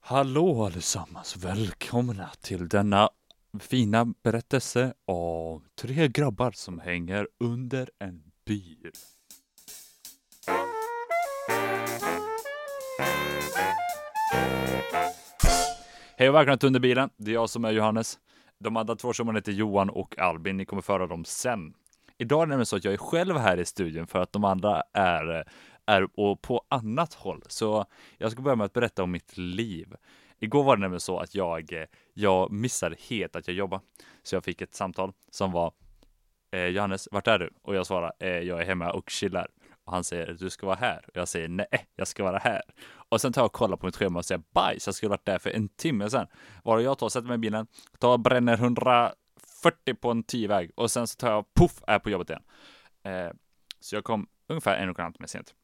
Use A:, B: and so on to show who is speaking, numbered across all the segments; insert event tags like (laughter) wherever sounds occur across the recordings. A: Hallå allesammans! Välkomna till denna fina berättelse av tre grabbar som hänger under en bil. Hej och välkomna till Under bilen. Det är jag som är Johannes. De andra två som heter Johan och Albin. Ni kommer föra dem sen. Idag är det nämligen så att jag är själv här i studion för att de andra är, är och på annat håll. Så jag ska börja med att berätta om mitt liv. Igår var det nämligen så att jag, eh, jag missade helt att jag jobbade. Så jag fick ett samtal som var eh, Johannes, vart är du? Och jag svarar, eh, jag är hemma och chillar. Och han säger, du ska vara här. Och jag säger, nej, jag ska vara här. Och sen tar jag och kollar på mitt schema och säger, bajs, jag skulle varit där för en timme sedan. Varav jag tar och sätter mig i bilen, tar och bränner 140 på en 10-väg och sen så tar jag, poff, är på jobbet igen. Eh, så jag kom ungefär en och en halv timme sent.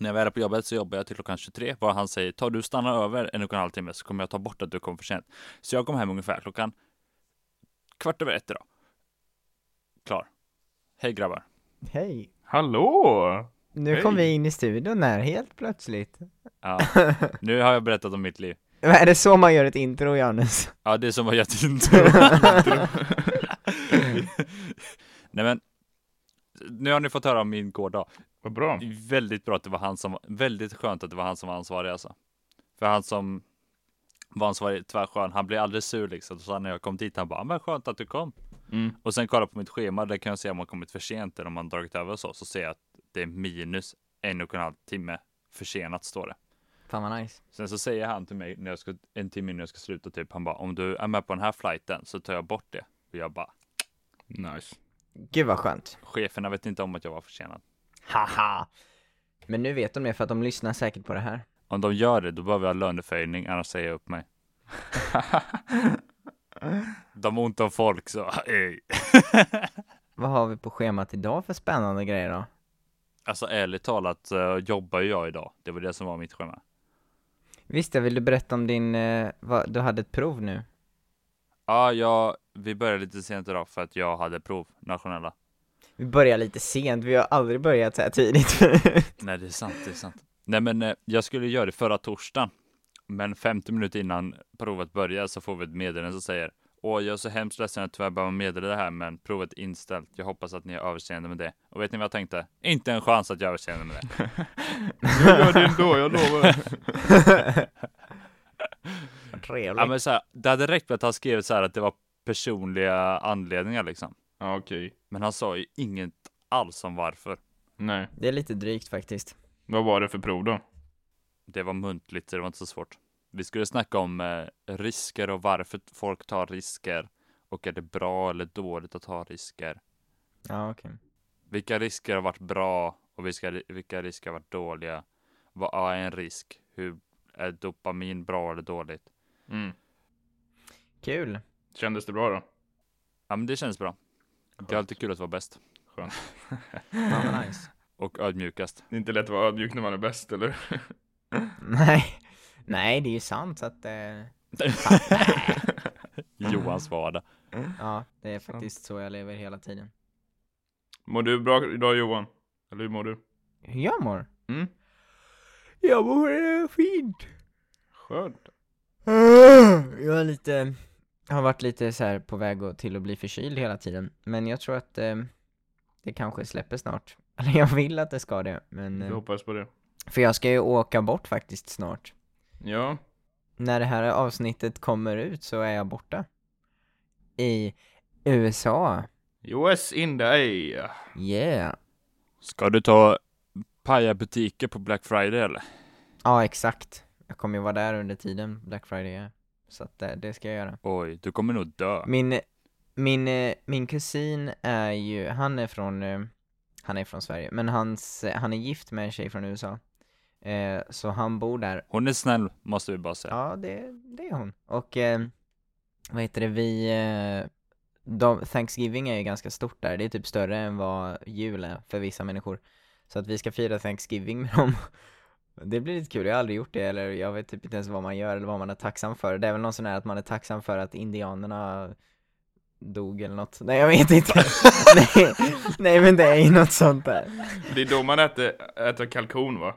A: När jag väl är på jobbet så jobbar jag till klockan 23, var han säger, tar du stanna över en och en halv timme så kommer jag ta bort att du kommer för sent. Så jag kom hem ungefär klockan kvart över ett idag. Klar. Hej grabbar.
B: Hej!
C: Hallå!
B: Nu
C: Hej.
B: kom vi in i studion här helt plötsligt.
A: Ja, nu har jag berättat om mitt liv.
B: Men Är det så man gör ett intro, Johannes?
A: Ja, det är som var jätteintro. Nej men, nu har ni fått höra om min gårdag.
C: Vad bra.
A: Väldigt bra att det var han som, väldigt skönt att det var han som var ansvarig alltså. För han som var ansvarig, tvärskön, han blev aldrig sur liksom. Så när jag kom dit, han bara, "Ah, men skönt att du kom.
C: Mm.
A: Och sen kolla på mitt schema, där kan jag se om man kommit för sent eller om man dragit över och så, så ser jag att det är minus en och en halv timme försenat står det.
B: Fan vad nice.
A: Sen så säger han till mig när jag ska, en timme innan jag ska sluta typ, han bara om du är med på den här flighten så tar jag bort det. Och jag bara,
C: Nice.
B: Gud vad skönt.
A: cheferna vet inte om att jag var försenad.
B: Haha! Men nu vet de det för att de lyssnar säkert på det här.
A: Om de gör det, då behöver jag löneförhöjning, annars säger jag upp mig. (laughs) de har ont om folk så, ej.
B: Vad har vi på schemat idag för spännande grejer då?
A: (laughs) Alltså ärligt talat eh, jobbar ju jag idag. Det var det som var mitt schema.
B: Visst jag vill du berätta om din, eh, vad, du hade ett prov nu?
A: Ja, jag, vi började lite sent idag för att jag hade prov, nationella.
B: Vi börjar lite sent, vi har aldrig börjat så här (laughs) tidigt
A: Nej, det är sant, det är sant. Nej, men eh, jag skulle göra det förra torsdagen, men 50 minuter innan provet börjar så får vi ett meddelande som säger Åh, jag är så hemskt ledsen att tyvärr behöva meddela det här, men provet är inställt. Jag hoppas att ni har överseende med det. Och vet ni vad jag tänkte? Inte en chans att jag har överseende med det.
C: (laughs) Jag gör det ändå, jag lovar.
B: Trevligt.
A: ja, men så här, det hade räckt med att han skrev så här att det var personliga anledningar liksom.
C: Ja, okej.
A: Men han sa ju inget alls om varför.
C: Nej.
B: Det är lite drygt faktiskt.
C: Vad var det för prov då?
A: Det var muntligt, så det var inte så svårt. Vi skulle snacka om eh, risker och varför folk tar risker och är det bra eller dåligt att ta risker?
B: Ja okej.
A: Vilka risker har varit bra och vilka, vilka risker har varit dåliga? Vad är en risk? Hur är dopamin bra eller dåligt?
C: Mm.
B: Kul.
C: Kändes det bra då?
A: Ja, men det känns bra. Det är alltid kul att vara bäst
B: Fan vad nice.
A: och ödmjukast. (laughs)
C: Det är inte lätt att vara ödmjuk när man är bäst, eller?
B: (laughs)
C: (laughs)
B: Nej. Nej det är ju sant så att eh...
A: Johans vardag.
B: Ja, det är faktiskt så jag lever hela tiden.
C: Mår du bra idag Johan? Eller hur mår du?
B: Hur jag mår?
C: Mm.
B: Jag mår eh, fint.
C: Skönt.
B: (clears throat) Jag är lite, har varit lite så här på väg att- till att bli förkyld hela tiden. Men jag tror att eh, det kanske släpper snart. (laughs) Eller jag vill att det ska det, men...
C: Jag
B: Eh,
C: hoppas på det.
B: för jag ska ju åka bort faktiskt snart.
C: Ja.
B: När det här avsnittet kommer ut så är jag borta. I USA.
C: US in the A.
B: Yeah.
A: Ska du ta paja butiker på Black Friday eller?
B: Ja, exakt. Jag kommer ju vara där under tiden Black Friday är. Så att eh, det, det ska jag göra.
A: Oj, du kommer nog dö.
B: Min, min, eh, min kusin är ju, han är från, eh, han är från Sverige, men hans, eh, han är gift med en tjej från USA. Eh, så han bor där.
A: Hon är snäll, måste vi bara säga.
B: Ja, det, det är hon. Och, eh, vad heter det, vi, eh, de, Thanksgiving är ju ganska stort där, det är typ större än vad jul är för vissa människor. Så att vi ska fira Thanksgiving (laughs) med dem. Det blir lite kul, jag har aldrig gjort det eller jag vet typ inte ens vad man gör eller vad man är tacksam för. Det är väl någon sån här att man är tacksam för att indianerna dog eller något. Nej jag vet inte. (laughs) nej, nej men det är ju något sånt där.
C: Det är då man äter, äter kalkon va?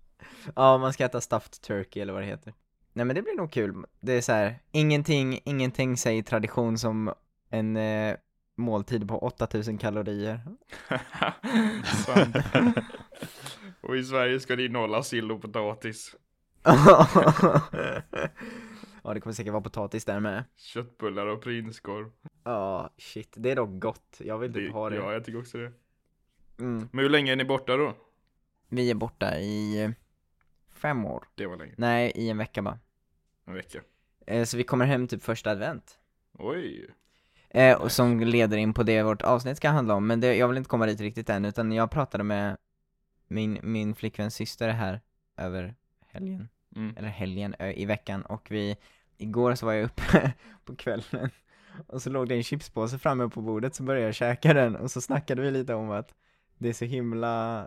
C: (laughs)
B: Ja man ska äta stuffed turkey eller vad det heter. Nej men det blir nog kul. Det är så här, ingenting, ingenting säger tradition som en eh, måltid på 8000 kalorier. (laughs)
C: Sant. Och i Sverige ska det innehålla sill och potatis.
B: ja det kommer säkert vara potatis där med.
C: Köttbullar och prinskorv.
B: Ja, shit. Det är dock gott. Jag vill typ ha det.
C: Ja, jag tycker också det.
B: Mm.
C: Men hur länge är ni borta då?
B: Vi är borta i eh, fem år.
C: Det var länge.
B: Nej, i en vecka bara.
C: En vecka.
B: Eh, så vi kommer hem typ första advent.
C: Oj.
B: Eh, och som leder in på det vårt avsnitt ska handla om, men det, jag vill inte komma dit riktigt än, utan jag pratade med min, min flickväns syster här över helgen, (laughs)
C: Mm.
B: eller helgen, ö, i veckan, och vi, igår så var jag uppe (laughs) på kvällen, och så låg det en chipspåse framme på bordet, så började jag käka den, och så snackade vi lite om att det är så himla,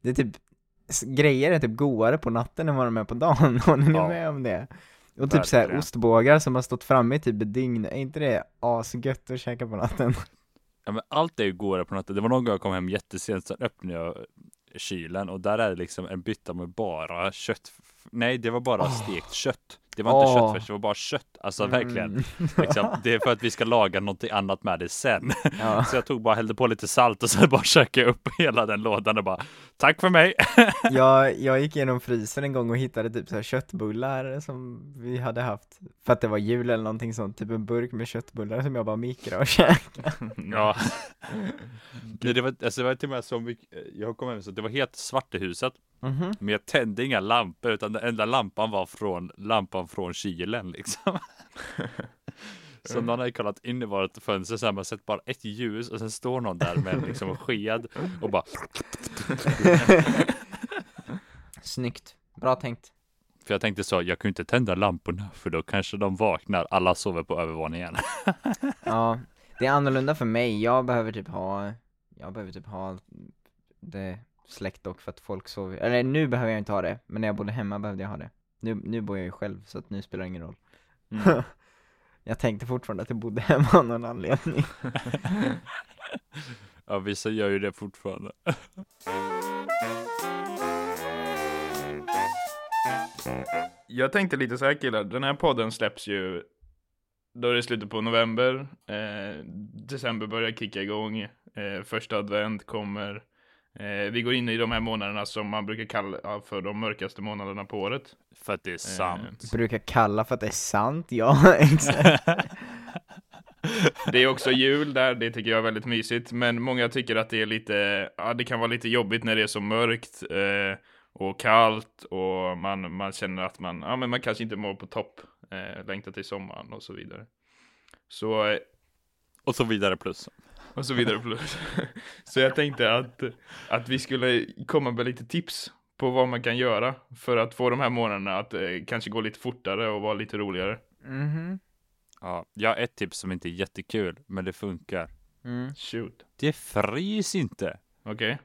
B: det är typ, s- grejer är typ godare på natten än vad de är på dagen, (laughs) håller ni
A: Ja.
B: med om det? Och typ såhär
A: Verkligen.
B: ostbågar som har stått framme i typ ett dygn, är inte det asgött att käka på natten?
A: Ja, men allt är ju godare på natten. Det var någon gång jag kom hem jättesent, sen öppnade jag kylen och där är det liksom en bytta med bara kött. Nej, det var bara
B: Åh.
A: stekt kött. Det var inte
B: Åh.
A: köttfärs, det var bara kött. Alltså verkligen.
B: Ah. Mm. (laughs)
A: Liksom, det är för att vi ska laga något annat med det sen.
B: Ja.
A: Så jag tog bara, hällde på lite salt och sen bara (laughs) käkade jag upp hela den lådan och bara tack för mig.
B: Jag, jag gick igenom frysen en gång och hittade typ så här köttbullar som vi hade haft för att det var jul eller någonting sånt, typ en burk med köttbullar som jag bara mikra och (laughs) käkade.
A: Ja. Mm. (laughs) Nej, det, var, alltså, det var till och med så mycket, jag kom hem så det var helt svart i huset.
B: Mhm.
A: Men jag tände inga lampor utan den enda lampan var från lampan från kylen liksom. (laughs) Så någon hade kollat in i vårt fönster så här, man sett bara ett ljus och sen står någon där med liksom en sked och bara
B: Snyggt, bra tänkt.
A: För jag tänkte så, jag kan ju inte tända lamporna för då kanske de vaknar, alla sover på övervåningen.
B: Ja, det är annorlunda för mig, jag behöver typ ha, jag behöver typ ha det släckt dock för att folk sover, eller nu behöver jag inte ha det, men när jag bodde hemma behövde jag ha det. Nu, nu bor jag ju själv så att nu spelar det ingen roll.
C: Mm.
B: (laughs) Jag tänkte fortfarande att jag bodde hemma av någon anledning.
A: Ja, vissa gör ju det fortfarande.
C: Jag tänkte lite så här killar, den här podden släpps ju då är det slutet på november. Eh, december börjar kicka igång. Eh, första advent kommer. Eh, vi går in i de här månaderna som man brukar kalla för de mörkaste månaderna på året.
A: För att det är sant.
B: (laughs) brukar kalla för att det är sant, ja (laughs) exakt.
C: Det är också jul där, det tycker jag är väldigt mysigt. Men många tycker att det är lite, ja det kan vara lite jobbigt när det är så mörkt eh, och kallt och man, man känner att man, ja men man kanske inte mår på topp. Eh, längtar till sommaren och så vidare. Så, eh,
A: Och så vidare plus.
C: och så vidare. Plus. (laughs) så jag tänkte att, att vi skulle komma med lite tips på vad man kan göra för att få de här månaderna att eh, kanske gå lite fortare och vara lite roligare.
B: Mhm.
A: Ja, jag har ett tips som inte är jättekul, men det funkar.
B: Mm.
C: Shoot.
A: Det frys inte.
C: Okej.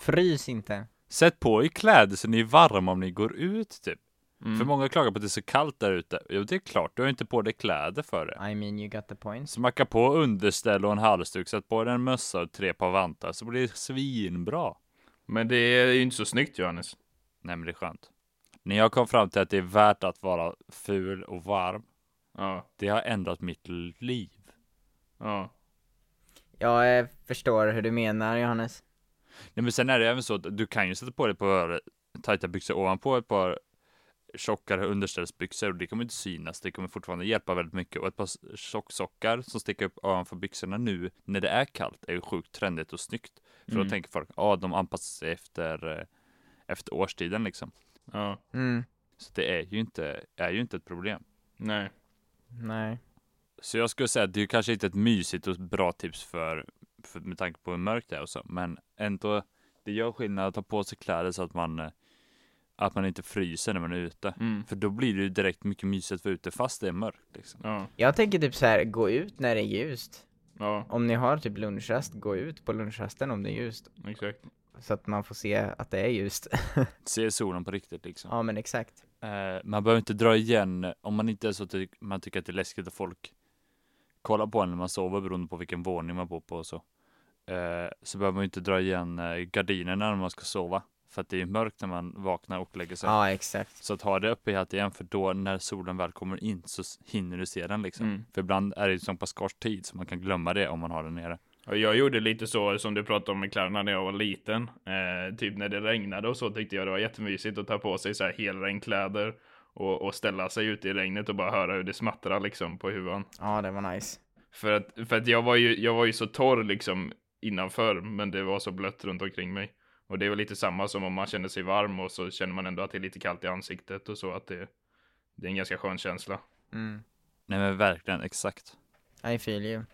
B: Frys inte.
A: Sätt på er kläder så ni är varma om ni går ut typ.
C: Mm.
A: För många klagar på att det är så kallt där ute. Jo, det är klart, du har inte på dig kläder för det.
B: I mean you got the point.
A: Smacka på underställ och en halsduk, sätt på dig en mössa och tre par vantar så blir det svinbra.
C: Men det är ju inte så snyggt Johannes.
A: Nej, men det är skönt. När jag kom fram till att det är värt att vara ful och varm,
C: Ja.
A: det har ändrat mitt liv.
C: Ja.
B: Jag eh, förstår hur du menar Johannes.
A: Nej, men sen är det även så att du kan ju sätta på dig ett par tajta byxor ovanpå ett par tjockare underställsbyxor och det kommer inte synas. Det kommer fortfarande hjälpa väldigt mycket och ett par tjocksockar som sticker upp ovanför byxorna nu när det är kallt är ju sjukt trendigt och snyggt. För
C: Mm.
A: då tänker folk, ja, ah, de anpassar sig efter eh, efter årstiden liksom.
C: Ja.
B: Mm.
A: Så det är ju inte, är ju inte ett problem.
C: Nej.
B: Nej.
A: Så jag skulle säga att det är kanske inte ett mysigt och bra tips för, för med tanke på hur mörkt det är och så, men ändå det gör skillnad att ta på sig kläder så att man eh, att man inte fryser när man är ute.
C: Mm.
A: För då blir det ju direkt mycket mysigt att vara ute fast det är mörkt. Liksom.
C: Ja.
B: Jag tänker typ så här: gå ut när det är ljust.
C: Ja.
B: Om ni har typ lunchrast, gå ut på lunchrasten om det är ljust.
C: Exakt.
B: Så att man får se att det är ljust.
A: Se solen på riktigt liksom.
B: (laughs) ja men exakt.
A: Eh, man behöver inte dra igen om man inte är så att det- man tycker att det är läskigt att folk kollar på en när man sover beroende på vilken våning man bor på och så. Eh, så behöver man ju inte dra igen eh, gardinerna när man ska sova. För att det är mörkt när man vaknar och lägger sig.
B: Ja, exakt.
A: Så att ha det uppe i hatt igen, för då när solen väl kommer in så s- hinner du se den liksom.
C: Mm.
A: För ibland är det ju som passagetid, så man kan glömma det om man har den nere.
C: Och jag gjorde lite så som du pratade om med kläderna när jag var liten. Eh, typ när det regnade och så tyckte jag det var jättemysigt att ta på sig så här helregnkläder och, och ställa sig ute i regnet och bara höra hur det smattrar liksom på huvan.
B: Ja, det var nice.
C: För att, för att jag, var ju, jag var ju så torr liksom innanför, men det var så blött runt omkring mig. Och det var lite samma som om man känner sig varm och så känner man ändå att det är lite kallt i ansiktet och så att det, det är en ganska skön känsla.
B: Mm.
A: Nej men verkligen, exakt.
B: I feel you.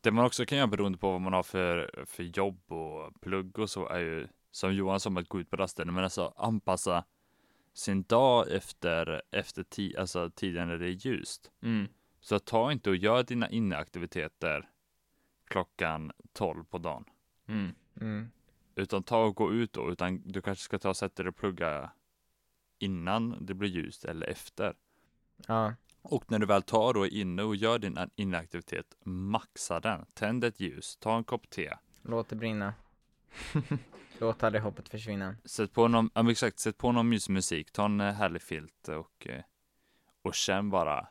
A: Det man också kan göra beroende på vad man har för, för jobb och plugg och så är ju, som Johan som att gå ut på rasten, men alltså anpassa sin dag efter, efter ti, alltså tiden när det är ljust. Så ta inte och gör dina inneaktiviteter klockan 12 på dagen.
C: Mm.
B: Mm.
A: Utan ta och gå ut då, utan du kanske ska ta och sätta dig och plugga innan det blir ljust eller efter.
B: Ja,
A: Och när du väl tar då inne och gör din inneaktivitet, maxa den. Tänd ett ljus, ta en kopp te,
B: låt det (laughs) brinna. låt aldrig hoppet försvinna.
A: sätt på någon, ja, men exakt, sätt på någon mysig musik, ta en eh, härlig filt och, eh, och känn bara.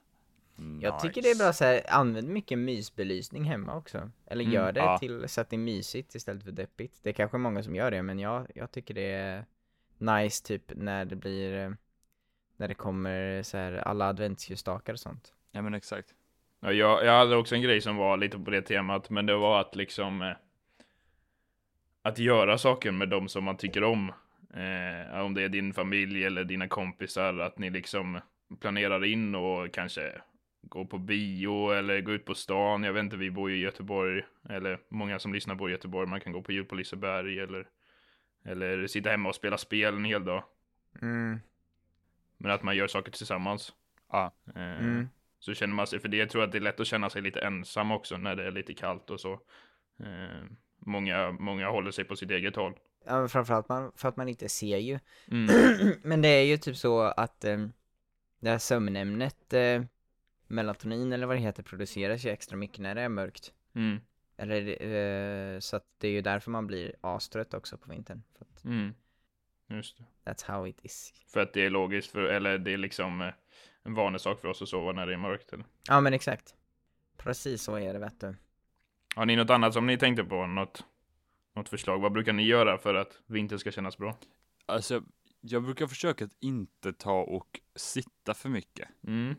B: Jag
A: nice.
B: tycker det är bra så här, använd mycket mysbelysning hemma också. Eller
C: Mm,
B: gör det
A: ja.
B: till så att det är mysigt istället för deppigt. Det är kanske många som gör det, men jag, jag tycker det är nice typ när det blir, eh, när det kommer så här alla adventsljusstakar och sånt.
A: Ja men exakt.
C: Ja, jag, jag hade också en grej som var lite på det temat, men det var att liksom eh, att göra saker med dem som man tycker om. Eh, om det är din familj eller dina kompisar, att ni liksom planerar in och kanske gå på bio eller gå ut på stan. Jag vet inte, vi bor ju i Göteborg, eller många som lyssnar bor i Göteborg. Man kan gå på jul på Liseberg eller, eller sitta hemma och spela spel en hel dag.
B: Mm,
C: Men att man gör saker tillsammans.
A: Ja.
C: Eh,
B: mm,
C: så känner man sig, för det jag tror att det är lätt att känna sig lite ensam också när det är lite kallt och så. Eh, många, många håller sig på sitt eget håll.
B: Ja, men framförallt man, för att man inte ser ju.
C: Mm.
B: men det är ju typ så att eh, det här sömnämnet, eh, melatonin eller vad det heter, produceras ju extra mycket när det är mörkt.
C: Mm.
B: Eller, eh, så att det är ju därför man blir astrött också på vintern. För att
C: Mm. Just det.
B: that's how it is.
C: För att det är logiskt, för, eller det är liksom eh, en vanesak för oss att sova när det är mörkt. Eller?
B: Ja men exakt. Precis så är det vet du.
C: Har ni något annat som ni tänkte på? Något, något förslag? Vad brukar ni göra för att vintern ska kännas bra?
A: Alltså jag, jag brukar försöka att inte ta och sitta för mycket.
C: Mm.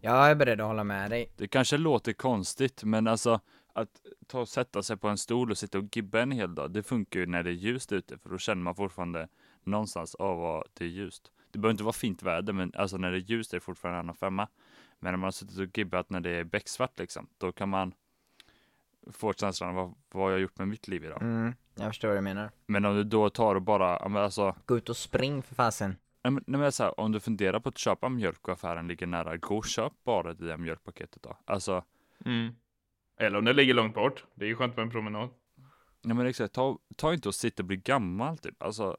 B: Jag är beredd att hålla med dig.
A: Det kanske låter konstigt, men alltså att ta och sätta sig på en stol och sitta och gibba en hel dag, det funkar ju när det är ljust ute, för då känner man fortfarande någonstans av vad det är ljust. Det behöver inte vara fint väder, men alltså när det är ljust är det fortfarande en annan femma. Men när man har suttit och gibbat när det är becksvart liksom, då kan man få känslan av vad, vad har jag gjort med mitt liv idag.
B: Mm, jag förstår vad du menar.
A: Men om du då tar och bara, ja, men alltså
B: Gå ut och spring för fasen.
A: Nej men, nej, men så här, om du funderar på att köpa mjölk och affären ligger nära, gå och köp bara det där mjölkpaketet då. Alltså,
C: Mm. Eller om det ligger långt bort. Det är ju skönt med en promenad.
A: nej men exakt, ta, ta inte och sitta och bli gammal typ. Alltså,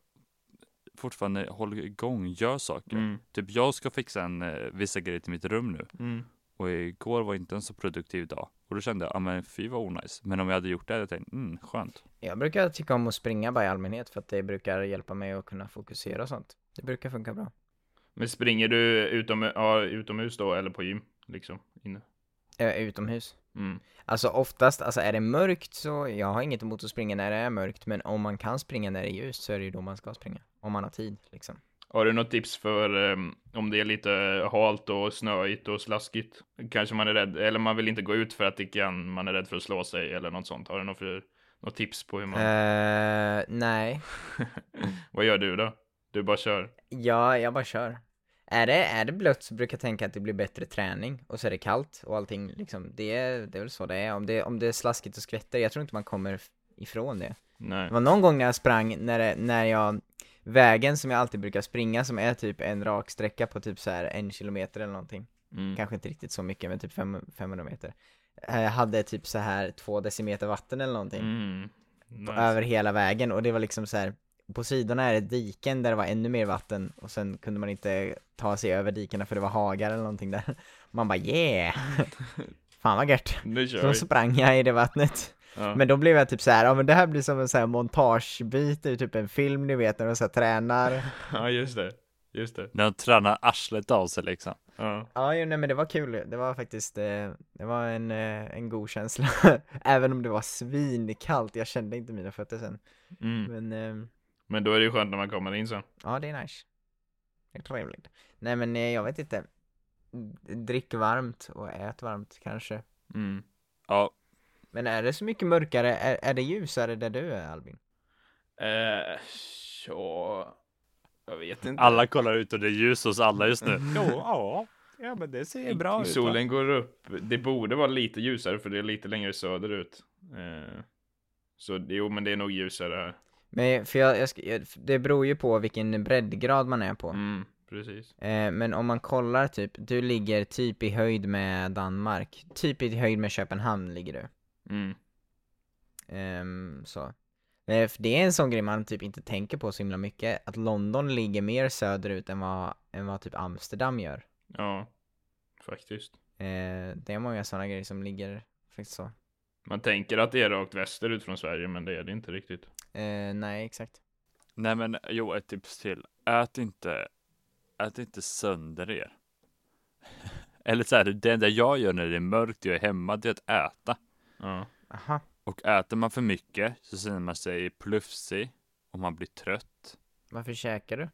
A: fortfarande håll igång, gör saker.
C: Mm.
A: Typ jag ska fixa en, eh, vissa grejer till mitt rum nu.
C: Mm.
A: Och igår var inte en så produktiv dag. Och då kände jag, ja men fy vad onajs. Men om jag hade gjort det hade jag tänkt, mm, skönt.
B: Jag brukar tycka om att springa bara i allmänhet för att det brukar hjälpa mig att kunna fokusera och sånt. Det brukar funka bra.
C: Men springer du utom, ja, utomhus då, eller på gym? Liksom, inne?
B: Eh, utomhus.
C: Mm.
B: Alltså oftast, alltså är det mörkt så, jag har inget emot att springa när det är mörkt men om man kan springa när det är ljust så är det ju då man ska springa. Om man har tid liksom.
C: Har du något tips för eh, om det är lite halt och snöigt och slaskigt? Kanske man är rädd, eller man vill inte gå ut för att det kan, man är rädd för att slå sig eller något sånt. Har du något, för, något tips på hur
B: Mm.
C: man...
B: Eh, nej,
C: Vad gör du då? Du bara kör?
B: Ja, jag bara kör. Är det, är det blött så brukar jag tänka att det blir bättre träning och så är det kallt och allting liksom, det, är- det är väl så det är. Om det, om det är slaskigt och skvätter, jag tror inte man kommer f- ifrån det.
C: Nej.
B: Det var någon gång när jag sprang, när, det, när jag, vägen som jag alltid brukar springa som är typ en rak sträcka på typ så här en kilometer eller någonting,
C: Mm.
B: kanske inte riktigt så mycket men typ fem, 500 meter, eh, hade typ så här två decimeter vatten eller någonting
C: Mm. Nice.
B: över hela vägen och det var liksom så här. På sidorna är det diken där det var ännu mer vatten och sen kunde man inte ta sig över dikena för det var hagar eller någonting (laughs)
C: (laughs)
B: där. Man bara yeah! Fan vad gött!
C: Nu kör
B: Så
C: vi.
B: sprang jag i det vattnet.
C: Ja.
B: Men då blev jag typ så här, ja men det här blir som en så här montagebit i typ en film ni vet när de så här
C: (laughs)
B: tränar.
C: (laughs) ja, just det. Just det.
A: När de tränar arslet av sig liksom.
C: Ja.
B: Ja jo, nej men det var kul, det var faktiskt, eh, det var en, eh, en god känsla. (laughs) Även om det var svinkallt, jag kände inte mina fötter sen.
C: Mm.
B: Men ehm,
C: Men då är det ju skönt när man kommer in sen.
B: Ja, det är nice. Det är trevligt. Nej men eh, jag vet inte. Drick varmt och ät varmt kanske.
C: Mm.
A: Ja,
B: Men är det så mycket mörkare? Är, är det ljusare där du är Albin?
C: Eh, ja. Jag vet inte.
A: alla kollar ut och det är ljus hos alla just nu. (laughs) Jo, ja, ja, men det ser bra ut. va?
C: Solen går upp. Det borde vara lite ljusare för det är lite längre söderut. Eh, så jo, men det är nog ljusare här.
B: Men eh, för jag, jag, ska- jag, det beror ju på vilken breddgrad man är på.
C: Mm, precis.
B: Eh, men om man kollar typ, du ligger typ i höjd med Danmark. Typ i höjd med Köpenhamn ligger du.
C: Mm.
B: Ehm, så. Eh, för det är en sån grej man typ inte tänker på så himla mycket. Att London ligger mer söderut än vad, än vad typ Amsterdam gör.
C: Ja, faktiskt.
B: Eh, det är många sådana grejer som ligger faktiskt så.
C: Man tänker att det är rakt västerut från Sverige, men det är det inte riktigt.
B: Eh, nej, exakt.
A: Nej, men jo, ett tips till. Ät inte, ät inte sönder er. (laughs) Eller så här, det enda jag gör när det är mörkt, jag är hemma, det är att äta.
C: Ja.
B: Aha.
A: Och äter man för mycket så känner man sig plufsig och man blir trött.
B: Varför käkar du?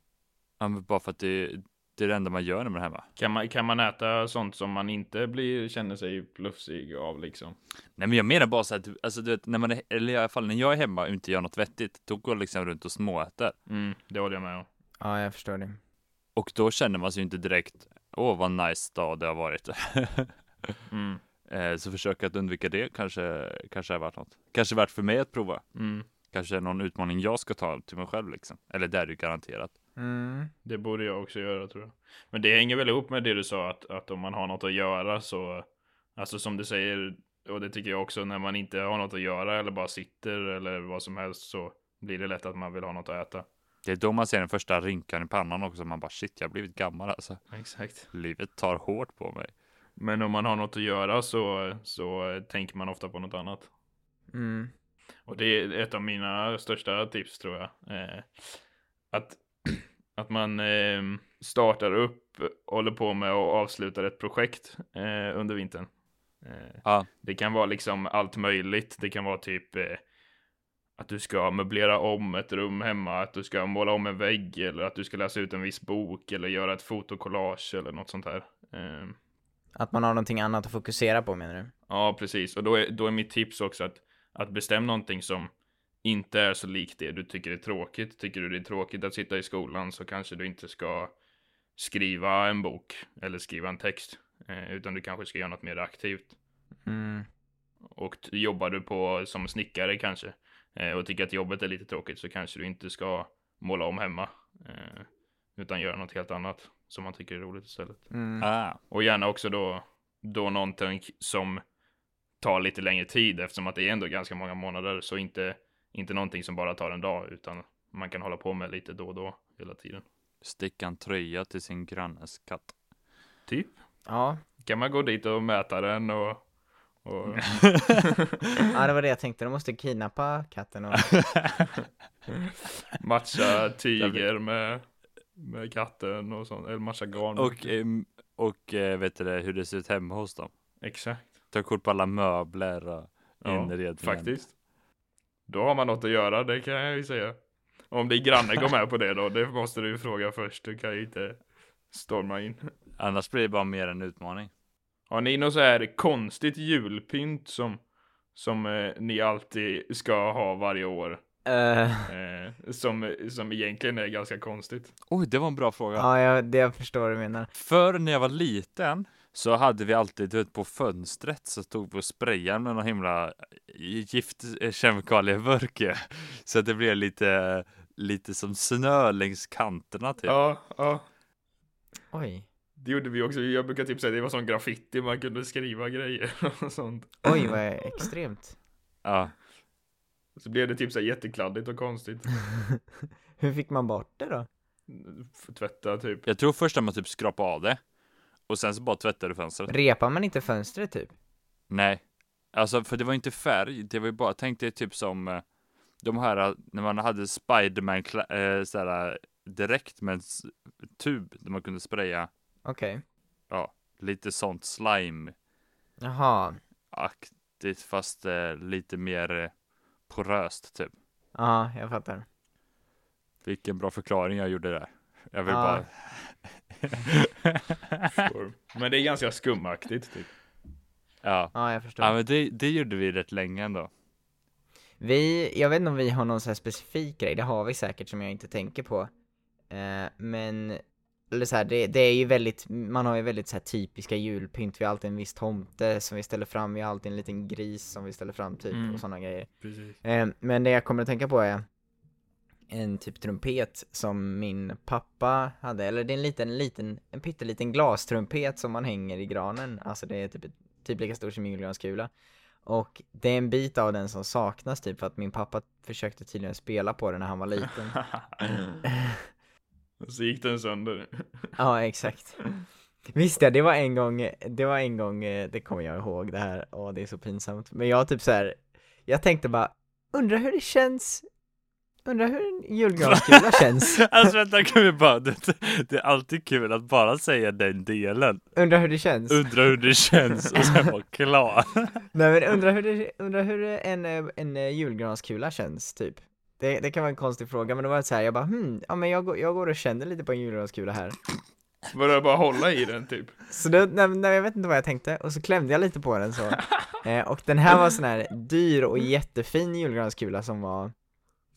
A: Ja, men Bara för att det, det är det enda man gör när man är hemma.
C: Kan, man, kan man äta sånt som man inte blir, känner sig plufsig av liksom?
A: Nej men jag menar bara så att, alltså du vet, när man är, eller i alla fall när jag är hemma och inte gör något vettigt, då går jag liksom runt och småäter.
C: Mm, det håller jag med om.
B: Ja, jag förstår det.
A: Och då känner man sig ju inte direkt, åh vad nice dag det har varit. (laughs)
C: Mm,
A: Eh, så försök att undvika det kanske, kanske är värt något. Kanske värt för mig att prova.
C: mm.
A: Kanske är någon utmaning jag ska ta till mig själv liksom. Eller det är det ju garanterat.
B: Mm.
C: Det borde jag också göra tror jag. Men det hänger väl ihop med det du sa att, att om man har något att göra så, alltså som du säger, och det tycker jag också, när man inte har något att göra eller bara sitter eller vad som helst så blir det lätt att man vill ha något att äta.
A: Det är då man ser den första rynkan i pannan också. Man bara shit, jag har blivit gammal alltså.
C: Exakt.
A: Livet tar hårt på mig.
C: Men om man har något att göra så, så tänker man ofta på något annat.
B: Mm.
C: Och det är ett av mina största tips tror jag. Eh, att, (clears throat) att man eh, startar upp, håller på med och avslutar ett projekt eh, under vintern. Eh,
A: Ja.
C: Det kan vara liksom allt möjligt. Det kan vara typ eh, att du ska möblera om ett rum hemma, att du ska måla om en vägg eller att du ska läsa ut en viss bok eller göra ett fotokollage eller något sånt här. Eh,
B: Att man har någonting annat att fokusera på menar du?
C: Ja, precis. Och då är, då är mitt tips också att, att bestäm någonting som inte är så likt det du tycker är tråkigt. Tycker du det är tråkigt att sitta i skolan så kanske du inte ska skriva en bok eller skriva en text, eh, utan du kanske ska göra något mer aktivt.
B: Mm.
C: Och t- jobbar du på som snickare kanske eh, och tycker att jobbet är lite tråkigt så kanske du inte ska måla om hemma, eh, utan göra något helt annat som man tycker är roligt istället.
B: Mm.
A: Ah.
C: Och gärna också då, då någonting som tar lite längre tid eftersom att det är ändå ganska många månader. Så inte, inte någonting som bara tar en dag utan man kan hålla på med lite då och då hela tiden.
A: Sticka en tröja till sin grannes
C: (laughs)
A: katt.
C: Typ.
B: Ja.
C: Kan man gå dit och mäta den och... och...
B: ja, det var det jag tänkte. De måste kidnappa katten och...
C: matcha tiger med, med katten och sånt. Eller matcha garn.
A: Och, ehm, och eh, vet du det, hur det ser ut hemma hos dem.
C: Exakt.
A: Ta kort på alla möbler och
C: Ja,
A: inredningen.
C: Faktiskt. Då har man något att göra, det kan jag ju säga. Om din granne går med på det då, det måste du ju fråga först. Du kan ju inte storma in.
A: Annars blir det bara mer en utmaning.
C: Har ni något så här konstigt julpynt som, som eh, ni alltid ska ha varje år?
B: (laughs) Eh,
C: Eh, som, som egentligen är ganska konstigt.
A: Oj, det var en bra fråga.
B: ja, jag, det jag förstår vad du menar.
A: Förr när jag var liten så hade vi alltid du vet, på fönstret så stod vi och sprayade med någon himla eh, gift eh, kemikalieburk ju. (laughs) Så att det blev lite, lite som snö längs kanterna typ.
C: Ja, ja.
B: Oj.
C: Det gjorde vi också. Jag brukar typ säga det var sån graffiti, man kunde skriva grejer (laughs) och sånt.
B: Oj, vad (laughs) extremt.
A: Ja.
C: Så blev det typ så här jättekladdigt och konstigt.
B: Hur fick man bort det då?
C: F- Tvätta typ.
A: Jag tror först att man typ skrapade av det och sen så bara tvättade du fönstret.
B: Repar man inte fönstret typ?
A: Nej. Alltså, för det var inte färg, det var ju bara, tänk dig typ som eh, de här, eh, när man hade Spiderman kla- eh, såhär, direkt med en s- tub där man kunde spraya
B: Okej.
A: lite sånt slime-aktigt,
B: Jaha.
A: fast eh, lite mer eh, poröst typ.
B: Ja, jag fattar.
A: Vilken bra förklaring jag gjorde där. Jag vill
B: Ja.
A: bara...
C: Form. Men det är ganska skumaktigt typ.
A: ja.
B: Ja, jag förstår.
A: ja, men det, det gjorde vi rätt länge ändå.
B: Vi, jag vet inte om vi har någon så här specifik grej, det har vi säkert som jag inte tänker på. Eh, men, eller så här, det, det är ju väldigt, man har ju väldigt så här typiska julpynt, vi har alltid en viss tomte som vi ställer fram, vi har alltid en liten gris som vi ställer fram typ
C: Mm.
B: och sådana grejer.
C: Precis.
B: Eh, men det jag kommer att tänka på är en typ trumpet som min pappa hade, eller det är en liten, liten, en pytteliten glastrumpet som man hänger i granen, alltså det är typ, ett- typ lika stor som en julgranskula. Och det är en bit av den som saknas typ för att min pappa försökte tydligen spela på den när han var
C: (laughs)
B: liten.
C: Så gick den sönder.
B: Ja, exakt. Visst ja, det var en gång, det var en gång, eh, det kommer jag ihåg det här, åh det är så pinsamt. Men jag typ så här, jag tänkte bara, undrar hur det känns, undrar hur
A: (laughs)
B: en julgranskula känns,
A: alltså vänta, kan vi bara... Det, det är alltid kul att bara säga den delen.
B: undrar hur det känns.
A: Undra hur det känns och sen vara klar.
B: Nej men undrar hur, det, undrar hur en, eh, en eh, julgranskula känns typ. Det, det kan vara en konstig fråga, men det var så här, jag bara hmm, ja men jag, går- jag går och känner lite på en julgranskula här.
C: Var det bara hålla i den typ?
B: Så då, nej, nej, jag vet inte vad jag tänkte, och så klämde jag lite på den
C: (laughs)
B: så. Eh, och den här var sån här dyr och jättefin julgranskula som var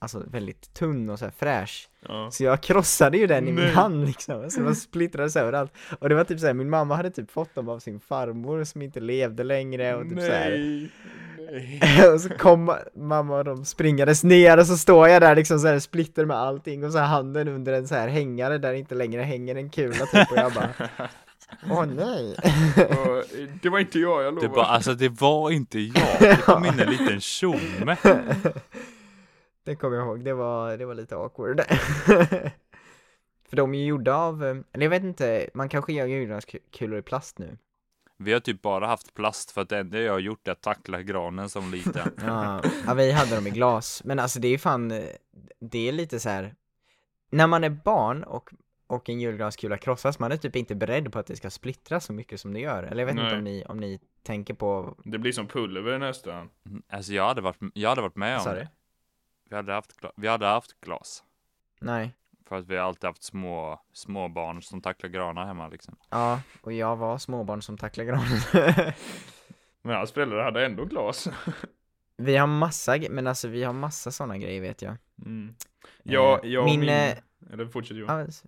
B: Alltså väldigt tunn och så här fräsch.
C: Ja.
B: Så jag krossade ju den i min
C: Nej.
B: hand liksom, så den splittrades överallt. Och det var typ såhär, min mamma hade typ fått dem av sin farmor som inte levde längre och typ så här.
C: Nej. Nej.
B: (laughs) och så kom ma- mamma och de springandes ner och så står jag där liksom så här splitter med allting och så här handen under en så här hängare där det inte längre hänger en kula typ och jag
C: (laughs)
B: bara Åh nej!
C: Och, det var inte jag, jag
A: Det
C: lovar.
A: bara, alltså det var inte jag. Det kom in en liten tjomme.
B: Det kommer jag ihåg, det var, det var lite awkward (laughs) För de är ju gjorda av, eh, eller jag vet inte, man kanske gör julgranskulor i plast nu
A: Vi har typ bara haft plast för att det enda jag har gjort är att tackla granen som liten.
B: Ja, (laughs) ja vi hade dem i glas, men alltså det är ju fan, eh, det är lite så här. när man är barn och, och en julgranskula krossas, man är typ inte beredd på att det ska splittras så mycket som det gör, eller jag vet inte
C: Nej.
B: om ni, om ni tänker på,
C: Det blir som pulver nästan.
A: Alltså jag hade varit, jag hade varit med
B: vad
A: om
B: sa
A: det.
B: du?
A: Vi hade haft, gla- vi hade haft glas.
B: Nej,
A: För att vi har alltid haft små, små barn som tacklar granar hemma liksom.
B: ja, och jag var småbarn som tacklade granen (laughs)
C: Men hans föräldrar hade ändå glas.
B: Vi har massa, ge- men alltså vi har massa sådana grejer vet jag
C: Mm. Ja,
B: Eh,
C: jag och
B: min,
C: min...
B: eh,
C: Eller fortsätt Johan.
B: Ja, men s-